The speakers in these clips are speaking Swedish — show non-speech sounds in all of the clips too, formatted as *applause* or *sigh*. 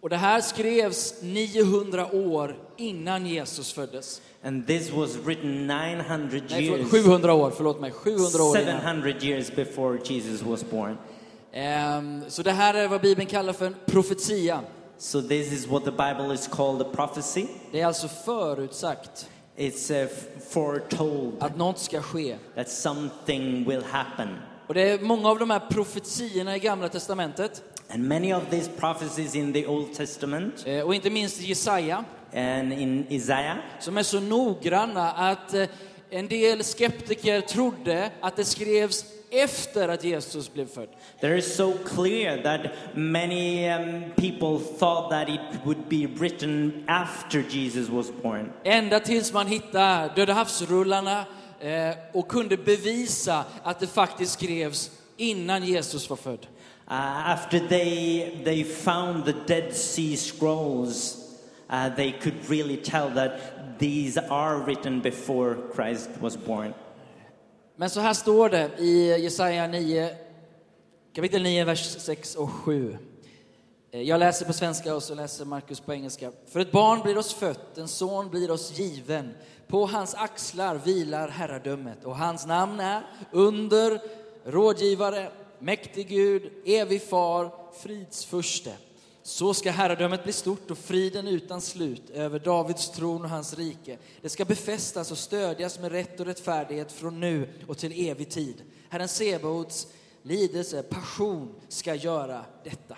Och det här skrevs 900 år innan Jesus föddes. And this was written 900 Nej, förlåt, years, 700 år, förlåt mig, 700 år innan. 700 years before Jesus was born. Ehm, Så det här är vad Bibeln kallar för en profetia. So this is what the Bible is called a prophecy. Det är alltså förutsagt It's uh, f- foretold att något ska ske. that something will happen. Och det är många av de här profetiorna i Gamla Testamentet, And many of these prophecies in the Old Testament eh, och inte minst Jesaja, and in Isaiah som är så noggranna att eh, en del skeptiker trodde att det skrevs efter att Jesus blev född. They're so clear that many um, people thought that it would be written after Jesus was born. Ända tills man hittade Döda havsrullarna eh, och kunde bevisa att det faktiskt skrevs innan Jesus var född. Uh, after they, they found the Dead Sea Scrolls, uh, they could really tell that these are written before Christ was born. Men så här står det i Jesaja 9, kapitel 9, vers 6 och 7. Eh, Jag läser på svenska och så läser Markus på engelska. För ett barn blir oss fött, en son blir oss given. På hans axlar vilar herradömet och hans namn är under, rådgivare, mäktig Gud, evig far, fridsfurste. Så ska herradömet bli stort och friden utan slut över Davids tron och hans rike. Det ska befästas och stödjas med rätt och rättfärdighet från nu och till evig tid. Herren Sebaots lidelse, passion ska göra detta.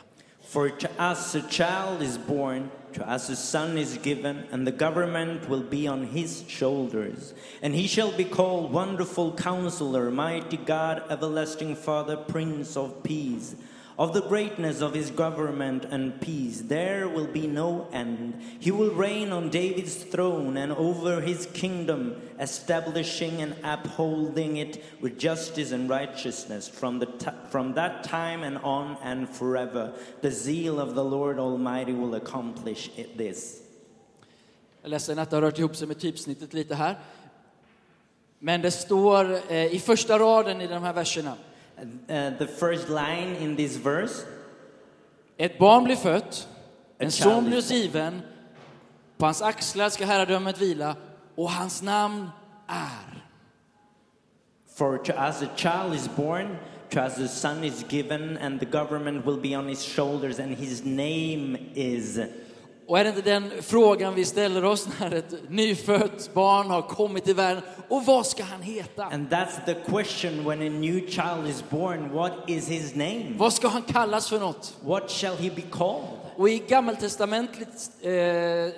For to us a child is born, to us a son is given, and the government will be on his shoulders. And he shall be called Wonderful Counselor, Mighty God, Everlasting Father, Prince of Peace. Of the greatness of his government and peace, there will be no end. He will reign on David's throne and over his kingdom, establishing and upholding it with justice and righteousness from, the t- from that time and on and forever. The zeal of the Lord Almighty will accomplish it, this. Jag är ledsen att det har rört ihop sig med typsnittet lite här. Men det står eh, i första raden i de här verserna. Uh, the first line in this verse Ett barn blir fött, en son child blir is oss given, på hans axlar ska herradömet vila och hans namn är. For to us a child is born, to us a son is given, and the government will be on his shoulders, and his name is. Och är det inte den frågan vi ställer oss när ett nyfött barn har kommit till världen? Och vad ska han heta? And that's the question when a new child is born what is his name? Vad ska han kallas för något? What shall he be called? Och i gammaltestamentligt eh,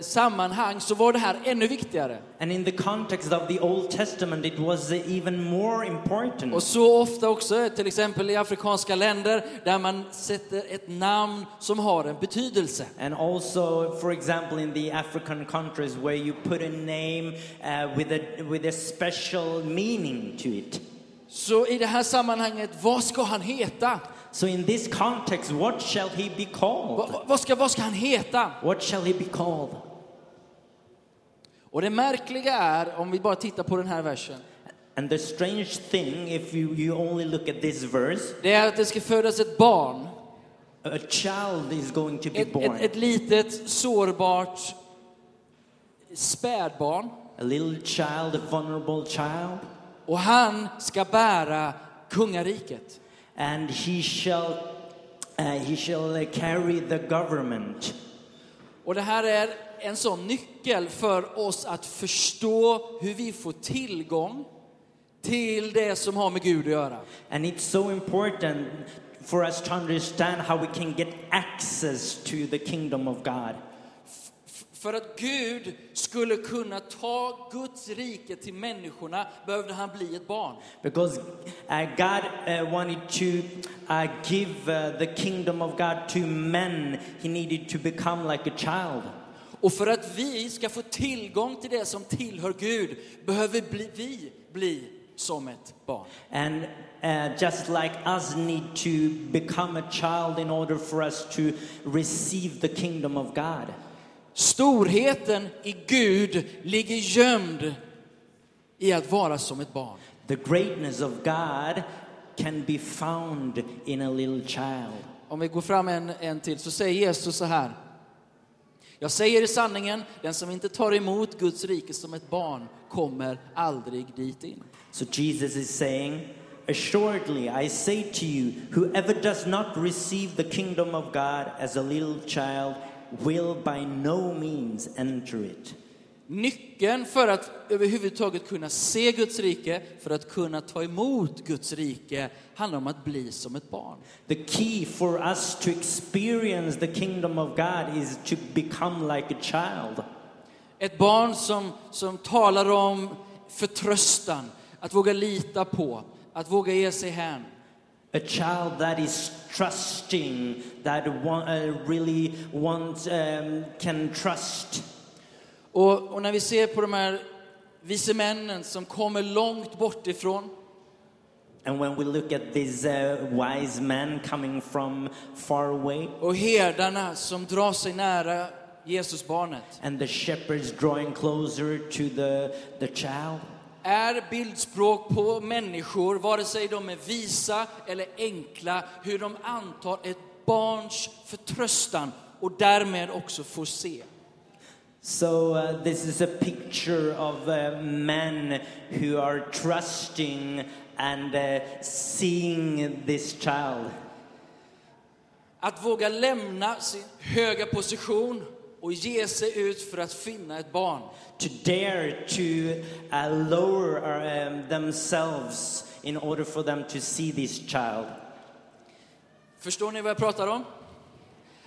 sammanhang så var det här ännu viktigare. And in the context of the Old Testament, it was even more Och important. så ofta också, till exempel i afrikanska länder, där man sätter ett namn som har en betydelse. And also, for example, in the African countries where you put a name uh, with, a, with a special meaning to it. Så i det här sammanhanget, vad ska han heta? So, in this context, what shall he be Va, called? va, vad, ska, vad ska han heta? What shall he be called? Och det märkliga är, om vi bara tittar på den här versen, And the strange thing, if you, you only look at this verse, det är att det ska födas ett barn. a child is going to be Ett, born. ett, ett litet, sårbart spädbarn. A little child, a vulnerable child, Och han ska bära kungariket. and he shall, uh, he shall uh, carry the government. Och det här är en sån nyckel för oss att förstå hur vi får tillgång till det som har med Gud att göra. And it's so important for us to understand how we can get access to the kingdom of God. F- För att Gud skulle kunna ta Guds rike till människorna behövde han bli ett barn. Because uh, God uh, wanted to uh, give uh, the kingdom of God to men, he needed to become like a child. Och för att vi ska få tillgång till det som tillhör Gud behöver bli, vi bli som ett barn. And uh, just like us need to become a child in order for us to receive the kingdom of God. Storheten i Gud ligger gömd i att vara som ett barn. The greatness of God can be found in a little child. Om vi går fram en, en till så säger Jesus så här. Jag säger i sanningen, den som inte tar emot Guds rike som ett barn kommer aldrig dit in. So Jesus is saying, Assuredly, I say to you, whoever does not receive the kingdom of God as a little child will by no means enter it. Nyckeln för att överhuvudtaget kunna se Guds rike, för att kunna ta emot Guds rike, handlar om att bli som ett barn. The key for us to experience the kingdom of God is to become like a child. Ett barn som, som talar om förtröstan, att våga lita på, att våga ge sig hän. A child that is trusting, that wa- uh, really wants, um, can trust. Och, och när vi ser på de här vise männen som kommer långt bort ifrån, And when we look at these uh, wise men coming from far away, och herdarna som drar sig nära Jesusbarnet, and the shepherds drawing closer to the, the child, är bildspråk på människor, vare sig de är visa eller enkla, hur de antar ett barns förtröstan och därmed också får se. So uh, this is a picture of uh, men who are trusting and uh, seeing this child. Att våga lämna sin höga position och ge sig ut för att finna ett barn. To dare to uh, lower uh, um, themselves in order for them to see this child. Förstår ni vad jag pratar om?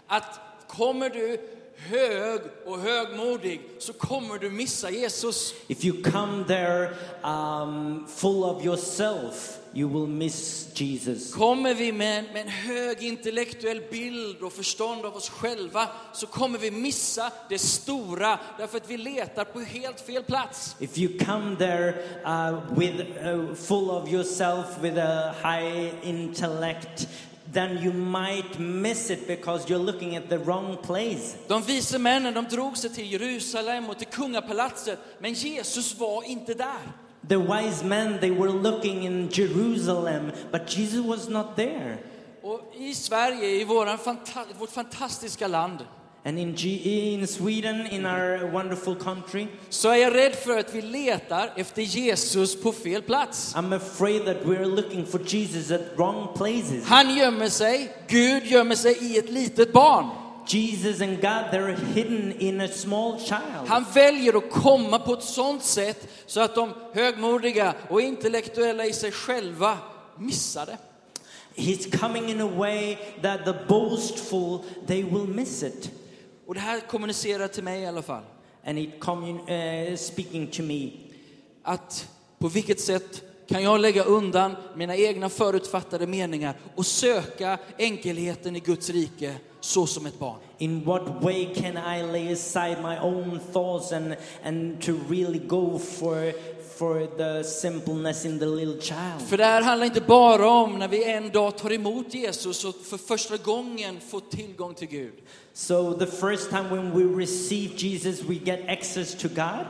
Att kommer du hög och högmodig så kommer du missa Jesus. If you come there um, full of yourself, you will miss Jesus. Kommer vi med, med en hög intellektuell bild och förstånd av oss själva så kommer vi missa det stora därför att vi letar på helt fel plats. If you come there uh, with uh, full of yourself, with a high intellect, then you might miss it because you're looking at the wrong place. De vise männen de drog sig till Jerusalem och till kungapalatset men Jesus var inte där. The wise men they were looking in Jerusalem, but Jesus was not there. Och i Sverige, i våran fanta- vårt fantastiska land And in, G- in Sweden, in our wonderful country, så är jag rädd för att vi letar efter Jesus på fel plats. I'm afraid that we're looking for Jesus at wrong places. Han gömmer sig, Gud gömmer sig i ett litet barn. Jesus and God they're hidden in a small child. Han väljer att komma på ett sånt sätt så att de högmodiga och intellektuella i sig själva missar det. He's coming in a way that the boastful they will miss it, Och det här kommunicerar till mig i alla fall. and it commun- uh, speaking to me. Att på vilket sätt kan jag lägga undan mina egna förutfattade meningar och söka enkelheten i Guds rike så som ett barn? In what way can I lay aside my own thoughts and and to really go for for the simpleness in the little child? För det här handlar inte bara om när vi en dag tar emot Jesus och för första gången får tillgång till Gud. So the first time when we receive Jesus, we get access to God.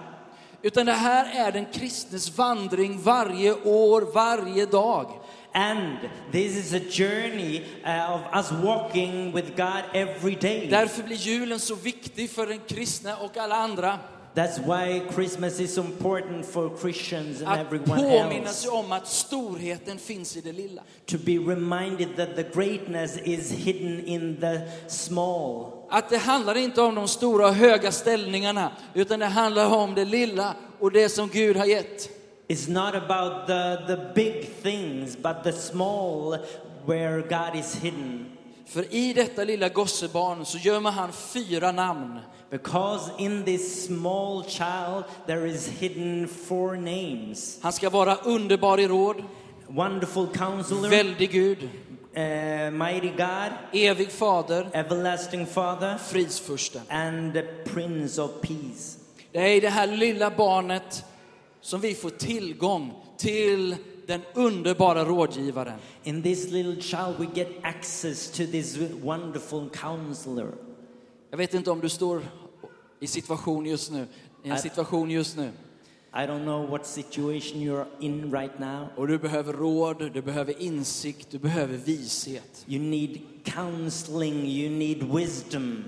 Utan det här är den kristnes vandring varje år, varje dag. And this is a journey uh, of us walking with God every day. Därför blir julen så viktig för den kristne och alla andra. That's why Christmas is important for Christians and Att everyone påminna sig else. om att storheten finns i det lilla. To be reminded that the greatness is hidden in the small. Att det handlar inte om de stora och höga ställningarna, utan det handlar om det lilla och det som Gud har gett. It's not about the, the big things, but the small where God is hidden. För i detta lilla gossebarn så gömmer han fyra namn. Because in this small child there is hidden four names Han ska vara underbar i råd, Wonderful Counselor, väldig Gud, uh, Mighty God, evig fader, Everlasting Father, fridsfursten. and the Prince of Peace. Det är i det här lilla barnet som vi får tillgång till den underbara rådgivaren. In this little child, we get access to this wonderful counselor. Jag vet inte om du står i situation just nu, i en Nej. situation just nu I don't know what situation you're in right now. och du behöver råd, du behöver insikt, du behöver vishet. You need counseling, you need wisdom.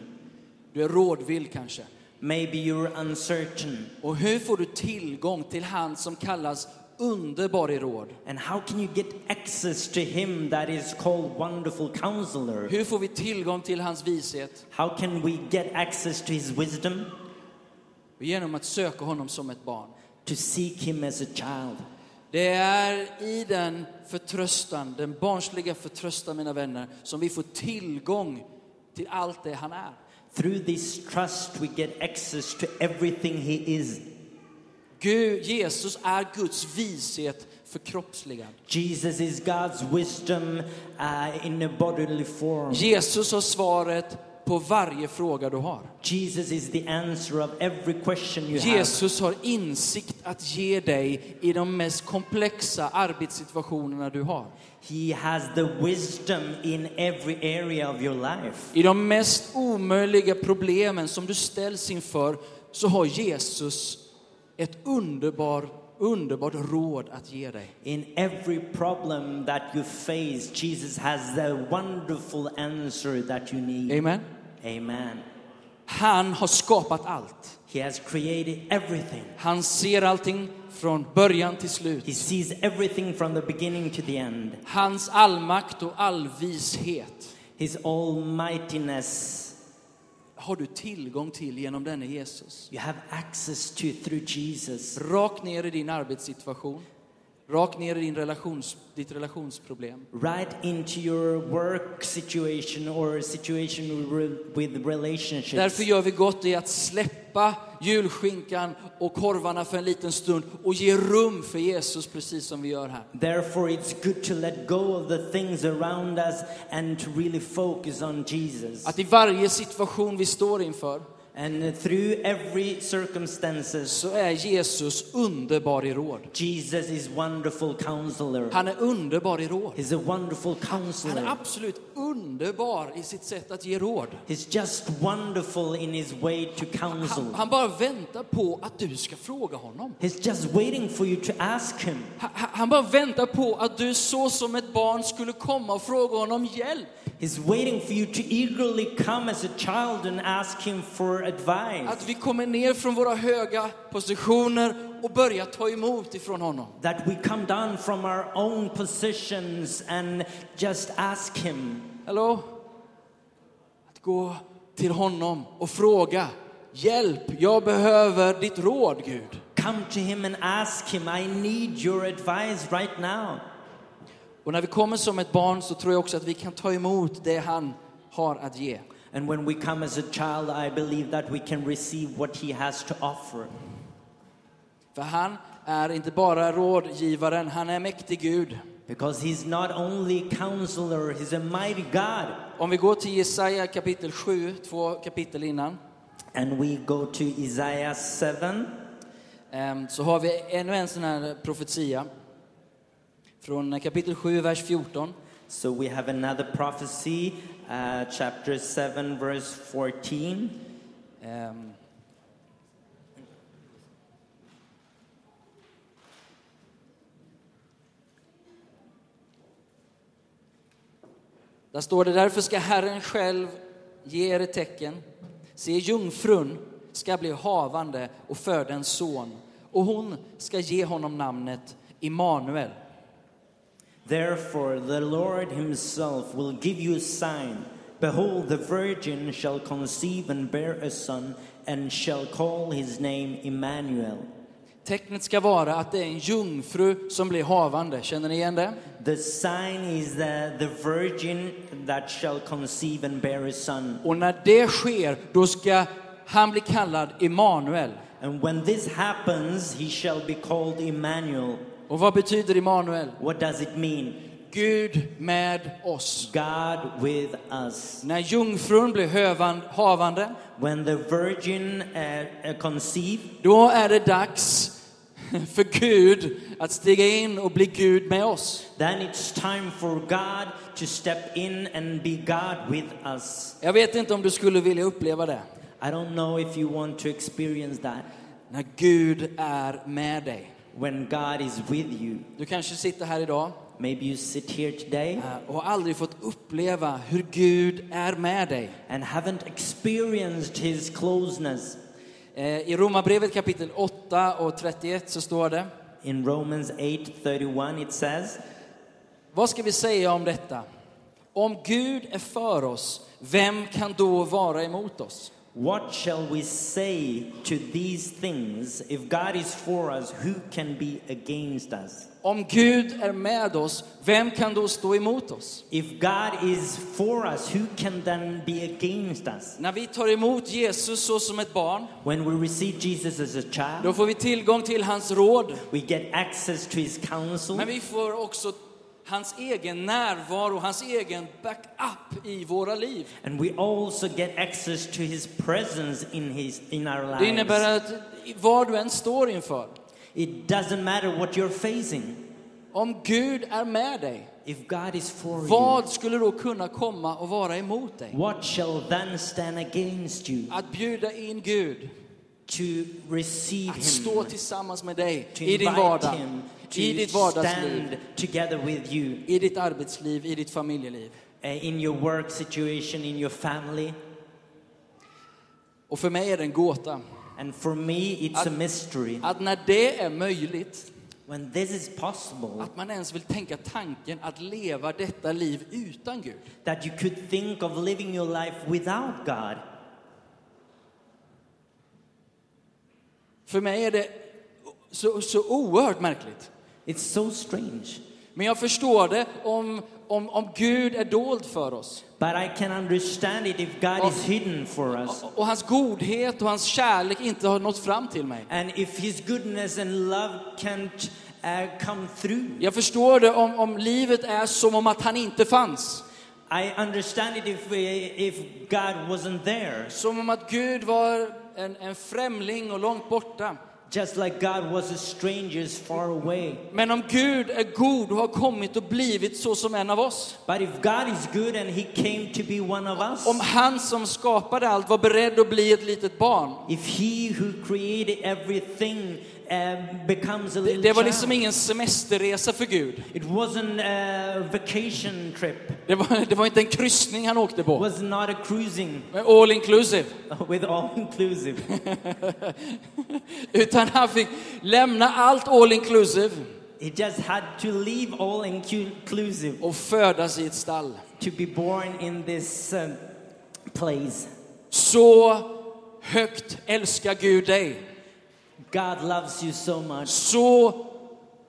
Du är rådvill kanske. Maybe you're uncertain. Och hur får du tillgång till han som kallas underbar i råd? And how can you get access to him that is called Wonderful Counselor? Hur får vi tillgång till hans vishet? How can we get access to his wisdom? Genom att söka honom som ett barn. To seek him as a child. Det är i den förtröstan, den barnsliga förtröstan mina vänner, som vi får tillgång till allt det han är. Through this trust, we get access to everything he is. Gud, Jesus är Guds vishet förkroppsligad. Jesus is God's wisdom uh, in a bodily form. Jesus har svaret på varje fråga du har. Jesus is the answer of every question you have. Jesus har insikt att ge dig i de mest komplexa arbetssituationerna du har. He has the wisdom in every area of your life. I de mest omöjliga problemen som du ställs inför så har Jesus ett underbar, underbart råd att ge dig. In every problem that you face, Jesus has the wonderful answer that you need. Amen. Amen. Han har skapat allt. He has created everything. Han ser allting från början till slut. He sees everything from the beginning to the end. Hans allmakt och allvishet His almightiness har du tillgång till genom denne Jesus. you have access to through Jesus. Rakt ner i din arbetssituation, rakt ner i din relations, ditt relationsproblem. Right into your work situation or situation re- with relationships. Därför gör vi gott i att släppa julskinkan och korvarna för en liten stund och ge rum för Jesus precis som vi gör här. Therefore, it's good to let go of the things around us and to really focus on Jesus. Att i varje situation vi står inför And through every circumstances, så är Jesus underbar i råd. Jesus is wonderful counselor. Han är underbar i råd. He's a wonderful Han är counselor. absolut underbar i sitt sätt att ge råd. He's just wonderful in his way to Han, counsel. han bara väntar på att du ska fråga honom. He's just waiting for you to ask him. Han, han han bara väntar på att du så som ett barn skulle komma och fråga honom hjälp. He's waiting for you to eagerly come as a child and ask him for advice. Att vi kommer ner från våra höga positioner och börjar ta emot ifrån honom. That we come down from our own positions and just ask him. Hallå? Att gå till honom och fråga hjälp, jag behöver ditt råd Gud. Come to him and ask him, I need your advice right now. Och när vi kommer som ett barn så tror jag också att vi kan ta emot det han har att ge. And when we come as a child, I believe that we can receive what he has to offer. För han är inte bara rådgivaren, han är mäktig Gud. Because he's not only counselor, he's a mighty God. Om vi går till Jesaja kapitel 7, två kapitel innan, And we go to Isaiah 7, ehm, så har vi ännu en sån här profetia. Från kapitel 7, vers 14. so we have another prophecy, uh, chapter 7, verse 14. Ehm. Där står det, därför ska Herren själv ge er ett tecken. Se, jungfrun ska bli havande och föda en son, och hon ska ge honom namnet Immanuel. Therefore, the Lord himself will give you a sign. Behold, the virgin shall conceive and bear a son, and shall call his name Emmanuel. Tecknet ska vara att det är en jungfru som blir havande. Känner ni igen det? The sign is that the virgin that shall conceive and bear a son. Och när det sker, då ska han bli kallad Immanuel. And when this happens, he shall be called Emmanuel. Och vad betyder Immanuel? What does it mean? Gud med oss. God with us. När jungfrun blir hövan, havande, When the virgin uh, uh, conceive, då är det dags *laughs* för Gud att stiga in och bli Gud med oss. then it's time for God to step in and be God with us. Jag vet inte om du skulle vilja uppleva det. I don't know if you want to experience that När Gud är med dig. when God is with you. Du kanske sitter här idag Maybe you sit here today eh, och har aldrig fått uppleva hur Gud är med dig. and haven't experienced his closeness. Eh, I Romarbrevet kapitel 8 och 31 så står det In Romans 8:31 it says, Vad ska vi säga om detta? Om Gud är för oss, vem kan då vara emot oss? "What shall we say to these things? If God is for us, who can be against us?" Om Gud är med oss, vem kan då stå emot oss? If God is for us, who can then be against us? När vi tar emot Jesus så som ett barn, When we receive Jesus as a då child, får vi tillgång till hans råd, we get access to his counsel, men vi får också hans egen närvaro, hans egen backup i våra liv. and we also get access to his presence in his in our Det lives. innebär att vad du än står inför, It doesn't matter what you're facing. om Gud är med dig, If God is for you, vad skulle då kunna komma och vara emot dig? what shall then stand against you? Att bjuda in Gud, To receive att stå him, tillsammans med dig to i din invite vardag, him, i to ditt vardagsliv, stand together with you i ditt arbetsliv, i ditt familjeliv. uh, in your work situation, in your family. Och för mig är det en gåta And for me, it's a Att- mystery. att när det är möjligt, When this is possible, att man ens vill tänka tanken att leva detta liv utan Gud. that you could think of living your life without God. För mig är det så, så oerhört märkligt. It's so strange. Men jag förstår det om, om, om Gud är dold för oss. But I can understand it if God Och- is hidden for us. Och, och hans godhet och hans kärlek inte har nått fram till mig. And if His goodness and love can't uh, come through. Jag förstår det om, om livet är som om att han inte fanns. I understand it if, we, if God wasn't there. Som om att Gud var en, en främling och långt borta. Just like God was a stranger is far away. Men om Gud är god och har kommit och blivit så som en av oss. But if God is good and He came to be one of us, Om han som skapade allt var beredd att bli ett litet barn. if He who created everything um, becomes a Det, little det var child, liksom ingen semesterresa för Gud. It wasn't a vacation trip. Det var, *laughs* det var inte en kryssning han åkte It på. was not a cruising *laughs* Med all inclusive. with all inclusive. Utan han fick lämna allt all inclusive He just had to leave all inclusive och födas i ett stall. to be born in this um, place. Så högt älskar Gud dig. God loves you so much. Så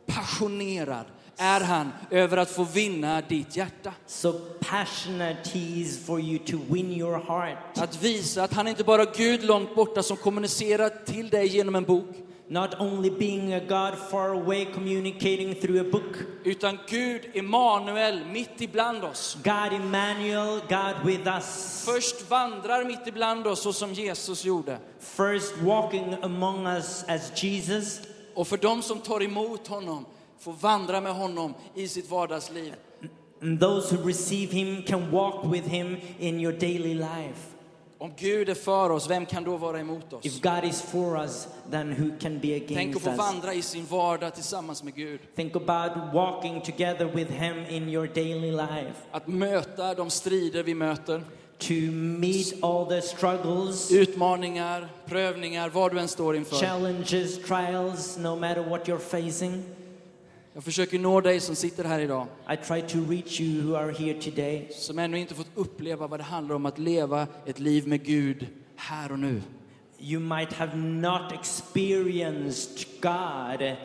passionerad är han över att få vinna ditt hjärta. So passionate he is for you to win your heart. Att visa att han inte bara är Gud långt borta som kommunicerar till dig genom en bok, Not only being a God far away communicating through a book. utan Gud Emanuel mitt ibland oss. God Emmanuel, God with us. Först vandrar mitt ibland oss så som Jesus gjorde. First walking among us as Jesus. Och för dem som tar emot honom får vandra med honom i sitt vardagsliv. And those who receive him can walk with him in your daily life. Om Gud är för oss, vem kan då vara emot oss? If God is for us, then who can be Tänk att against få us? vandra i sin vardag tillsammans med Gud. Think about walking together with him in your daily life. Att möta de strider vi möter, To meet all the struggles, utmaningar, prövningar, vad du än står inför. challenges, trials, no matter what you're facing. Jag försöker nå dig som sitter här idag, I try to reach you who are here today som ännu inte fått uppleva vad det handlar om att leva ett liv med Gud här och nu. you might have not experienced God,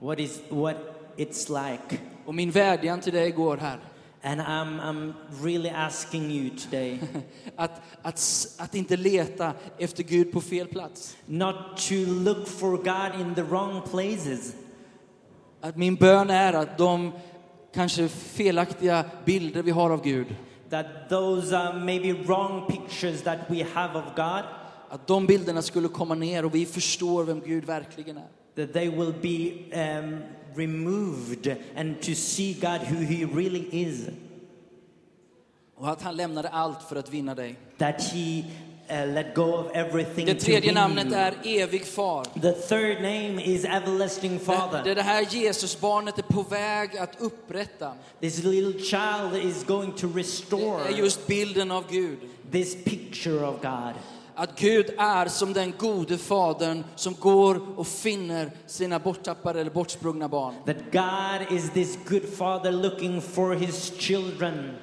what is what it's like. Och min vädjan till dig går här, *laughs* And I'm, I'm really asking you today att, att, s- att inte leta efter Gud på fel plats. not to look for God in the wrong places. Att min bön är att de kanske felaktiga bilder vi har av Gud, That those are maybe wrong pictures that we have of God, att de bilderna skulle komma ner och vi förstår vem Gud verkligen är. that they will be um, removed and to see God who He really is. Och att han lämnade allt för att vinna dig. That He uh, let go of everything Det to tredje win namnet you. är evig far. The third name is Everlasting Father. Det, det här Jesusbarnet är på väg att upprätta. This little child is going to Det restore är just bilden av Gud. this picture of God. Att Gud är som den gode fadern som går och finner sina borttappade eller bortsprungna barn. That God is this good father looking for his children.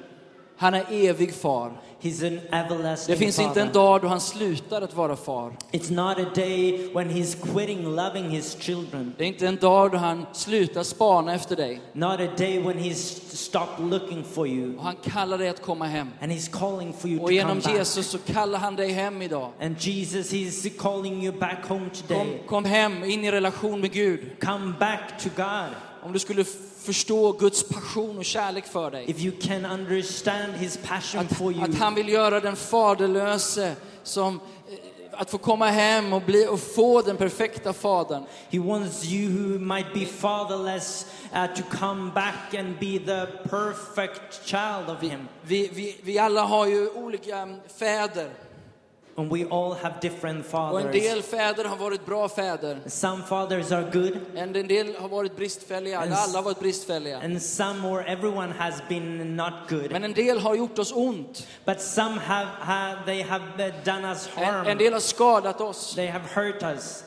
Han är evig far. He's an Det everlasting finns inte en father. dag då han slutar att vara far. It's not a day when he's quitting loving his children. Det är inte en dag då han slutar spana efter dig. Not a day when he's stopped looking for you. Och han kallar dig att komma hem. And he's calling for you Och to come genom back. Jesus så kallar han dig hem idag. And Jesus, he's calling you back Kom, home today. kom hem, in i relation med Gud. Come back to God. Om du skulle f- förstå Guds passion och kärlek för dig. If you can understand his passion for you. Att han vill göra den faderlöse som eh, att få komma hem och, bli, och få den perfekta fadern. He wants you who might be fatherless uh, to come back and be the perfect child of Him. Vi, vi, vi alla har ju olika mm, fäder. And we all have different Och en fathers. del fäder har varit bra fäder. Some fathers are good, En en del har varit bristfälliga. Eller En s- alla har varit bristfälliga. and some or everyone has been not good. Men en del har gjort oss ont. But some have, have they have uh, done us En, en harm. del har skadat oss. They have hurt us.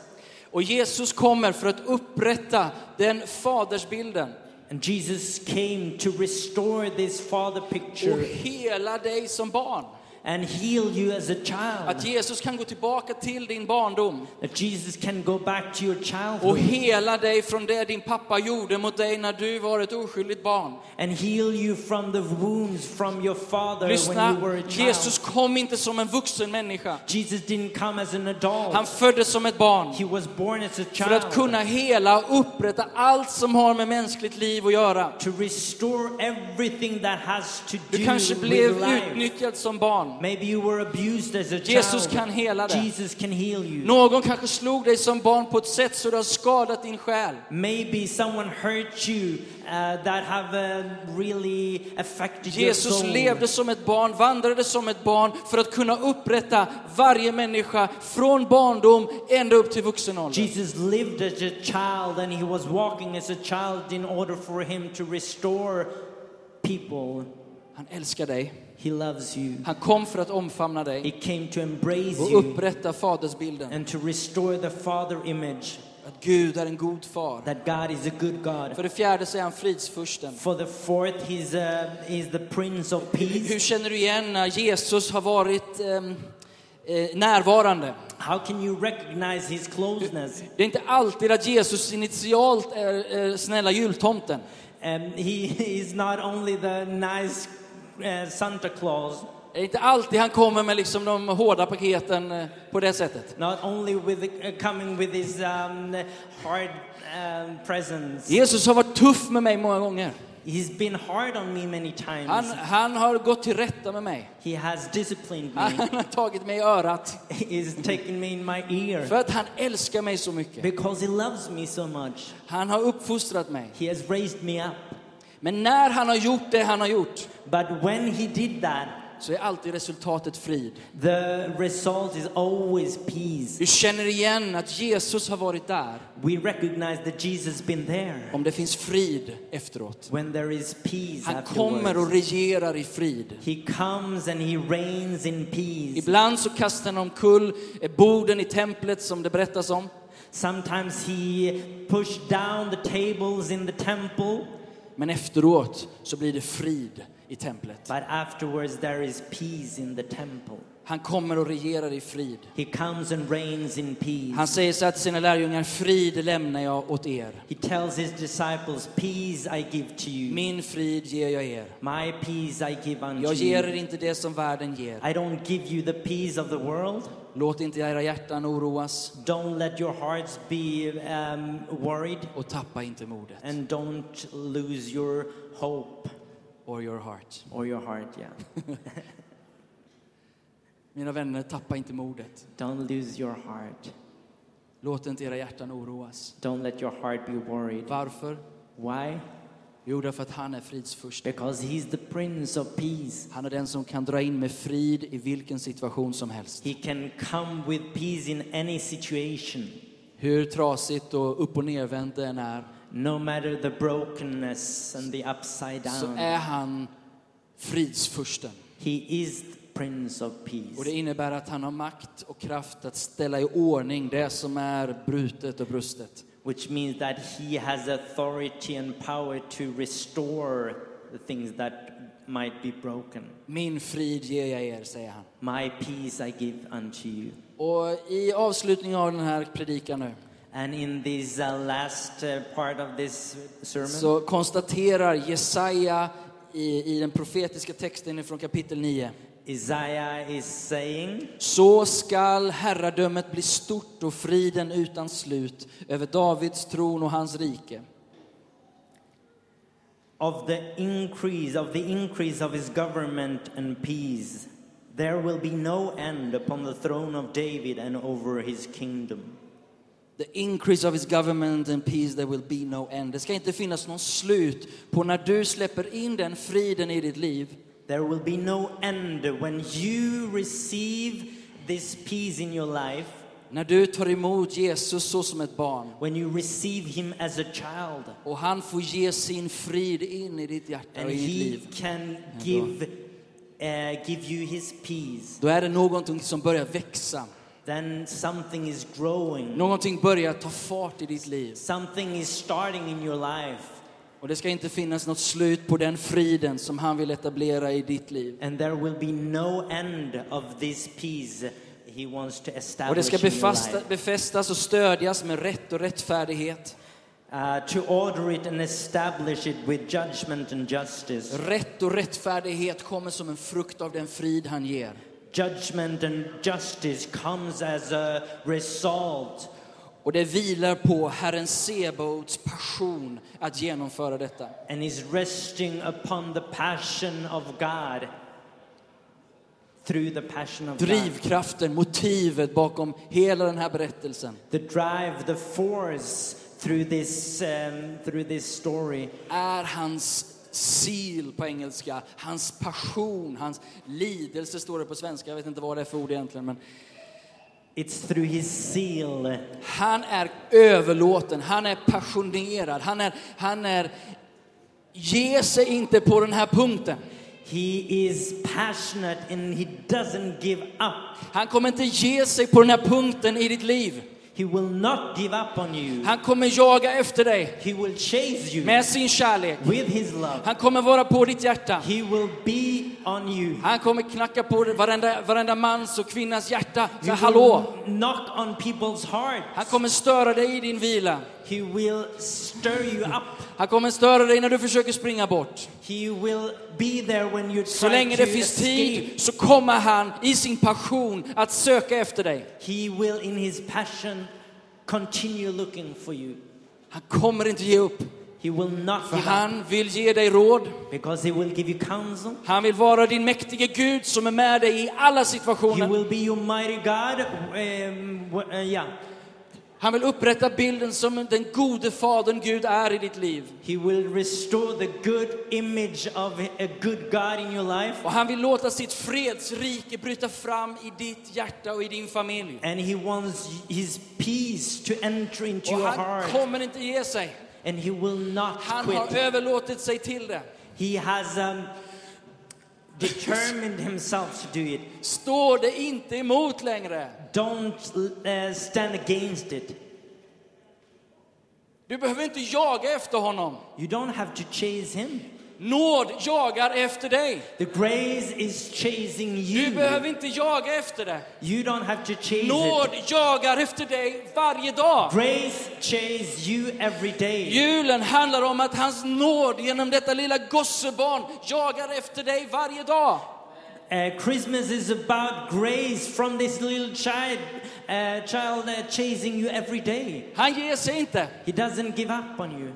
Och Jesus kommer för att upprätta den fadersbilden And Jesus came to restore this father och picture hela dig som barn. and heal you as a Att child. Jesus kan gå tillbaka till din barndom That Jesus can go back to your och childhood. hela dig från det din pappa gjorde mot dig när du var ett oskyldigt barn. and heal you from the wounds from your father when you were Lyssna, a child. Jesus kom inte som en vuxen människa. Jesus didn't come as an adult. Han föddes som ett barn he was born as a för att child kunna hela och upprätta allt som har med mänskligt liv att göra. to restore everything that has to Du do kanske with blev life. utnyttjad som barn. Maybe you were abused as a Jesus child. kan hela dig. Jesus can heal you. Någon kanske slog dig som barn på ett sätt så du har skadat din själ. Maybe someone hurt you uh, that have uh, really affected your Jesus soul. levde som ett barn, vandrade som ett barn för att kunna upprätta varje människa från barndom ända upp till vuxen ålder. Jesus lived as a child and he was walking as a child in order for him to restore people Han älskar dig. He loves you. Han kom för att omfamna dig He came to embrace och you upprätta fadersbilden. and to restore the father image Att Gud är en god far. that God is a good God. För det fjärde så är han fridsfursten. For the fourth, he's, uh, he's the Prince of Hur Peace. känner du igen när Jesus har varit ehm, eh, närvarande? How can you recognize his closeness? Det är inte alltid att Jesus initialt är eh, snälla jultomten. Um, he *laughs* is not only the nice uh, Santa Claus, Det är inte alltid han kommer med liksom de hårda paketen eh, på det sättet. not only with uh, coming with his um, hard um, presence. Jesus har varit tuff med mig många gånger. He's been hard on me many Han, times. han har gått till rätta med mig. He has disciplined Han me. har tagit mig i örat *laughs* He's taken me in my ear. för att han älskar mig så mycket. Because he loves me so much. Han har uppfostrat mig. He has raised me up. Men när han har gjort det han har gjort But when he did that, så är alltid resultatet frid. the result is always peace. Du känner igen att Jesus har varit där We recognize that Jesus has been there. om det finns frid efteråt. When there is peace Han kommer afterwards, och regerar i frid. he comes and he reigns in peace. Ibland så kastar han omkull eh, borden i templet som det berättas om. Sometimes he pushed down the tables in the temple, Men efteråt så blir det frid i templet. but afterwards there is peace in the temple. Han kommer och regerar i frid. He comes and reigns in peace. Han säger så här till sina lärjungar, frid lämnar jag åt er. He tells his disciples, Peace I give to you. Min frid ger jag er. My peace I give unto Jag ger er you. inte det som världen ger. I don't give you the peace of the world. Låt inte era hjärtan oroas Don't let your hearts be um, worried. och tappa inte modet. And don't lose your hope Or your heart. or your heart, yeah. Mina vänner, tappa inte modet. don't lose your heart. Låt inte era hjärtan oroas. Don't let your heart be worried. Varför? Why? Jo, därför att han är fridsfursten. because he's the Prince of Peace. Han är den som kan dra in med frid i vilken situation som helst. He can come with peace in any situation, Hur trasigt och upp och nervänt det än är, no matter the brokenness and the upside så down. är han fridsfursten. He is the Prince of Peace. Och det innebär att han har makt och kraft att ställa i ordning det som är brutet och brustet. which means that he has authority and power to restore the things that might be broken. Min frid ger jag er, säger han. My peace I give unto you. Och i avslutningen av den här predikan nu, And in this uh, last uh, part of this sermon, så konstaterar Jesaja i, i den profetiska texten från kapitel 9. Isaiah is saying, Så skall herradömet bli stort och friden utan slut över Davids tron och hans rike. of the increase of the increase of his government and peace there will be no end upon the throne of david and over his kingdom The increase of his government and peace there will be no end. Det ska inte finnas någon slut på när du släpper in den friden i ditt liv. there will be no end when you receive this peace in your life När du tar emot Jesus så som ett barn when you receive him as a child och han får ge sin frid in i ditt hjärta and och i ditt he liv. can give uh, give you his peace Då är det någonting som börjar växa. then something is growing Någonting börjar ta fart i ditt liv. something is starting in your life Och det ska inte finnas något slut på den friden som han vill etablera i ditt liv. And there will be no end of this peace he wants to Och det establish ska in your befasta, life. befästas och stödjas med rätt och rättfärdighet. Uh, to order it and establish it with judgment and justice. Rätt och rättfärdighet kommer som en frukt av den frid han ger. Judgment and justice comes as a result. Och det vilar på Herren Sebaots passion att genomföra detta. And is resting upon the passion of God. Through the passion of God. Drivkraften, motivet bakom hela den här berättelsen The drive, the force through this, um, through this story är hans sil på engelska, hans passion, hans lidelse står det på svenska. Jag vet inte vad det är för ord egentligen. Men It's through his seal. Han är överlåten, han är passionerad, han är, han är ger sig inte på den här punkten. He is passionate and he doesn't give up. Han kommer inte ge sig på den här punkten i ditt liv. He will not give up on you. Han kommer jaga efter dig He will chase you med sin kärlek. with his love. Han kommer vara på ditt hjärta. He will be on you. Han kommer knacka på varenda, varenda mans och kvinnas hjärta. He Så, hallå! will knock on people's heart. Han kommer störa dig i din vila. He will stir you up. Han kommer störa dig när du försöker springa bort. He will be there when you Så try länge det to finns escape. tid så kommer han i sin passion att söka efter dig. He will, in his passion, continue looking for you. Han kommer inte ge upp. He will not För give up han vill ge dig råd. because he will give you counsel. Han vill vara din mäktige Gud som är med dig i alla He situationer. will be your mighty God. Um, wh- uh, yeah. Han vill upprätta bilden som den gode fadern Gud är i ditt liv. He will restore the good image of a good God in your life. Och han vill låta sitt fredsrike bryta fram i ditt hjärta och i din familj. And he wants his peace to enter into Och your han heart. kommer inte ge sig. And he will not Han har quit. överlåtit sig till det. He has um, determined himself to do it. Står det inte emot längre. Don't uh, stand against it. Du behöver inte jaga efter honom. You don't have to chase him. Nåd jagar efter dig. The grace is chasing Du you. behöver inte jaga efter det. You don't have to chase Nåd it. jagar efter dig varje dag. Grace chases you every day. Julen handlar om att hans nåd genom detta lilla gossebarn jagar efter dig varje dag. Uh, Christmas is about grace from this little child, uh, child uh, chasing you every day. Han ger sig inte. He doesn't give up on you.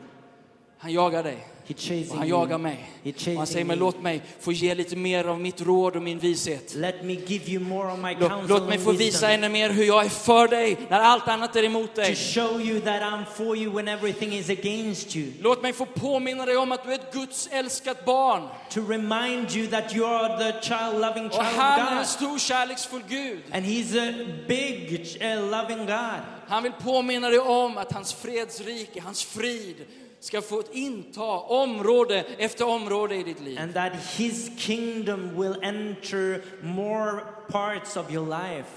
Han jagar dig. He chases Och han you. jagar mig. He Och han chases säger, men you. låt mig få ge lite mer av mitt råd och min vishet. Let me give you more of my Låt, counsel låt mig and få wisdom visa ännu mer hur jag är för dig när allt annat är emot to dig. show you that I'm for you when everything is against you. Låt mig få påminna dig om att du är ett Guds älskat barn. To remind you that you are the child-loving Och child of han är en God. stor kärleksfull Gud. And he's a big, uh, loving God. Han vill påminna dig om att hans fredsrike, hans frid, ska få inta område efter område i ditt liv. And that his kingdom will enter more parts of your life.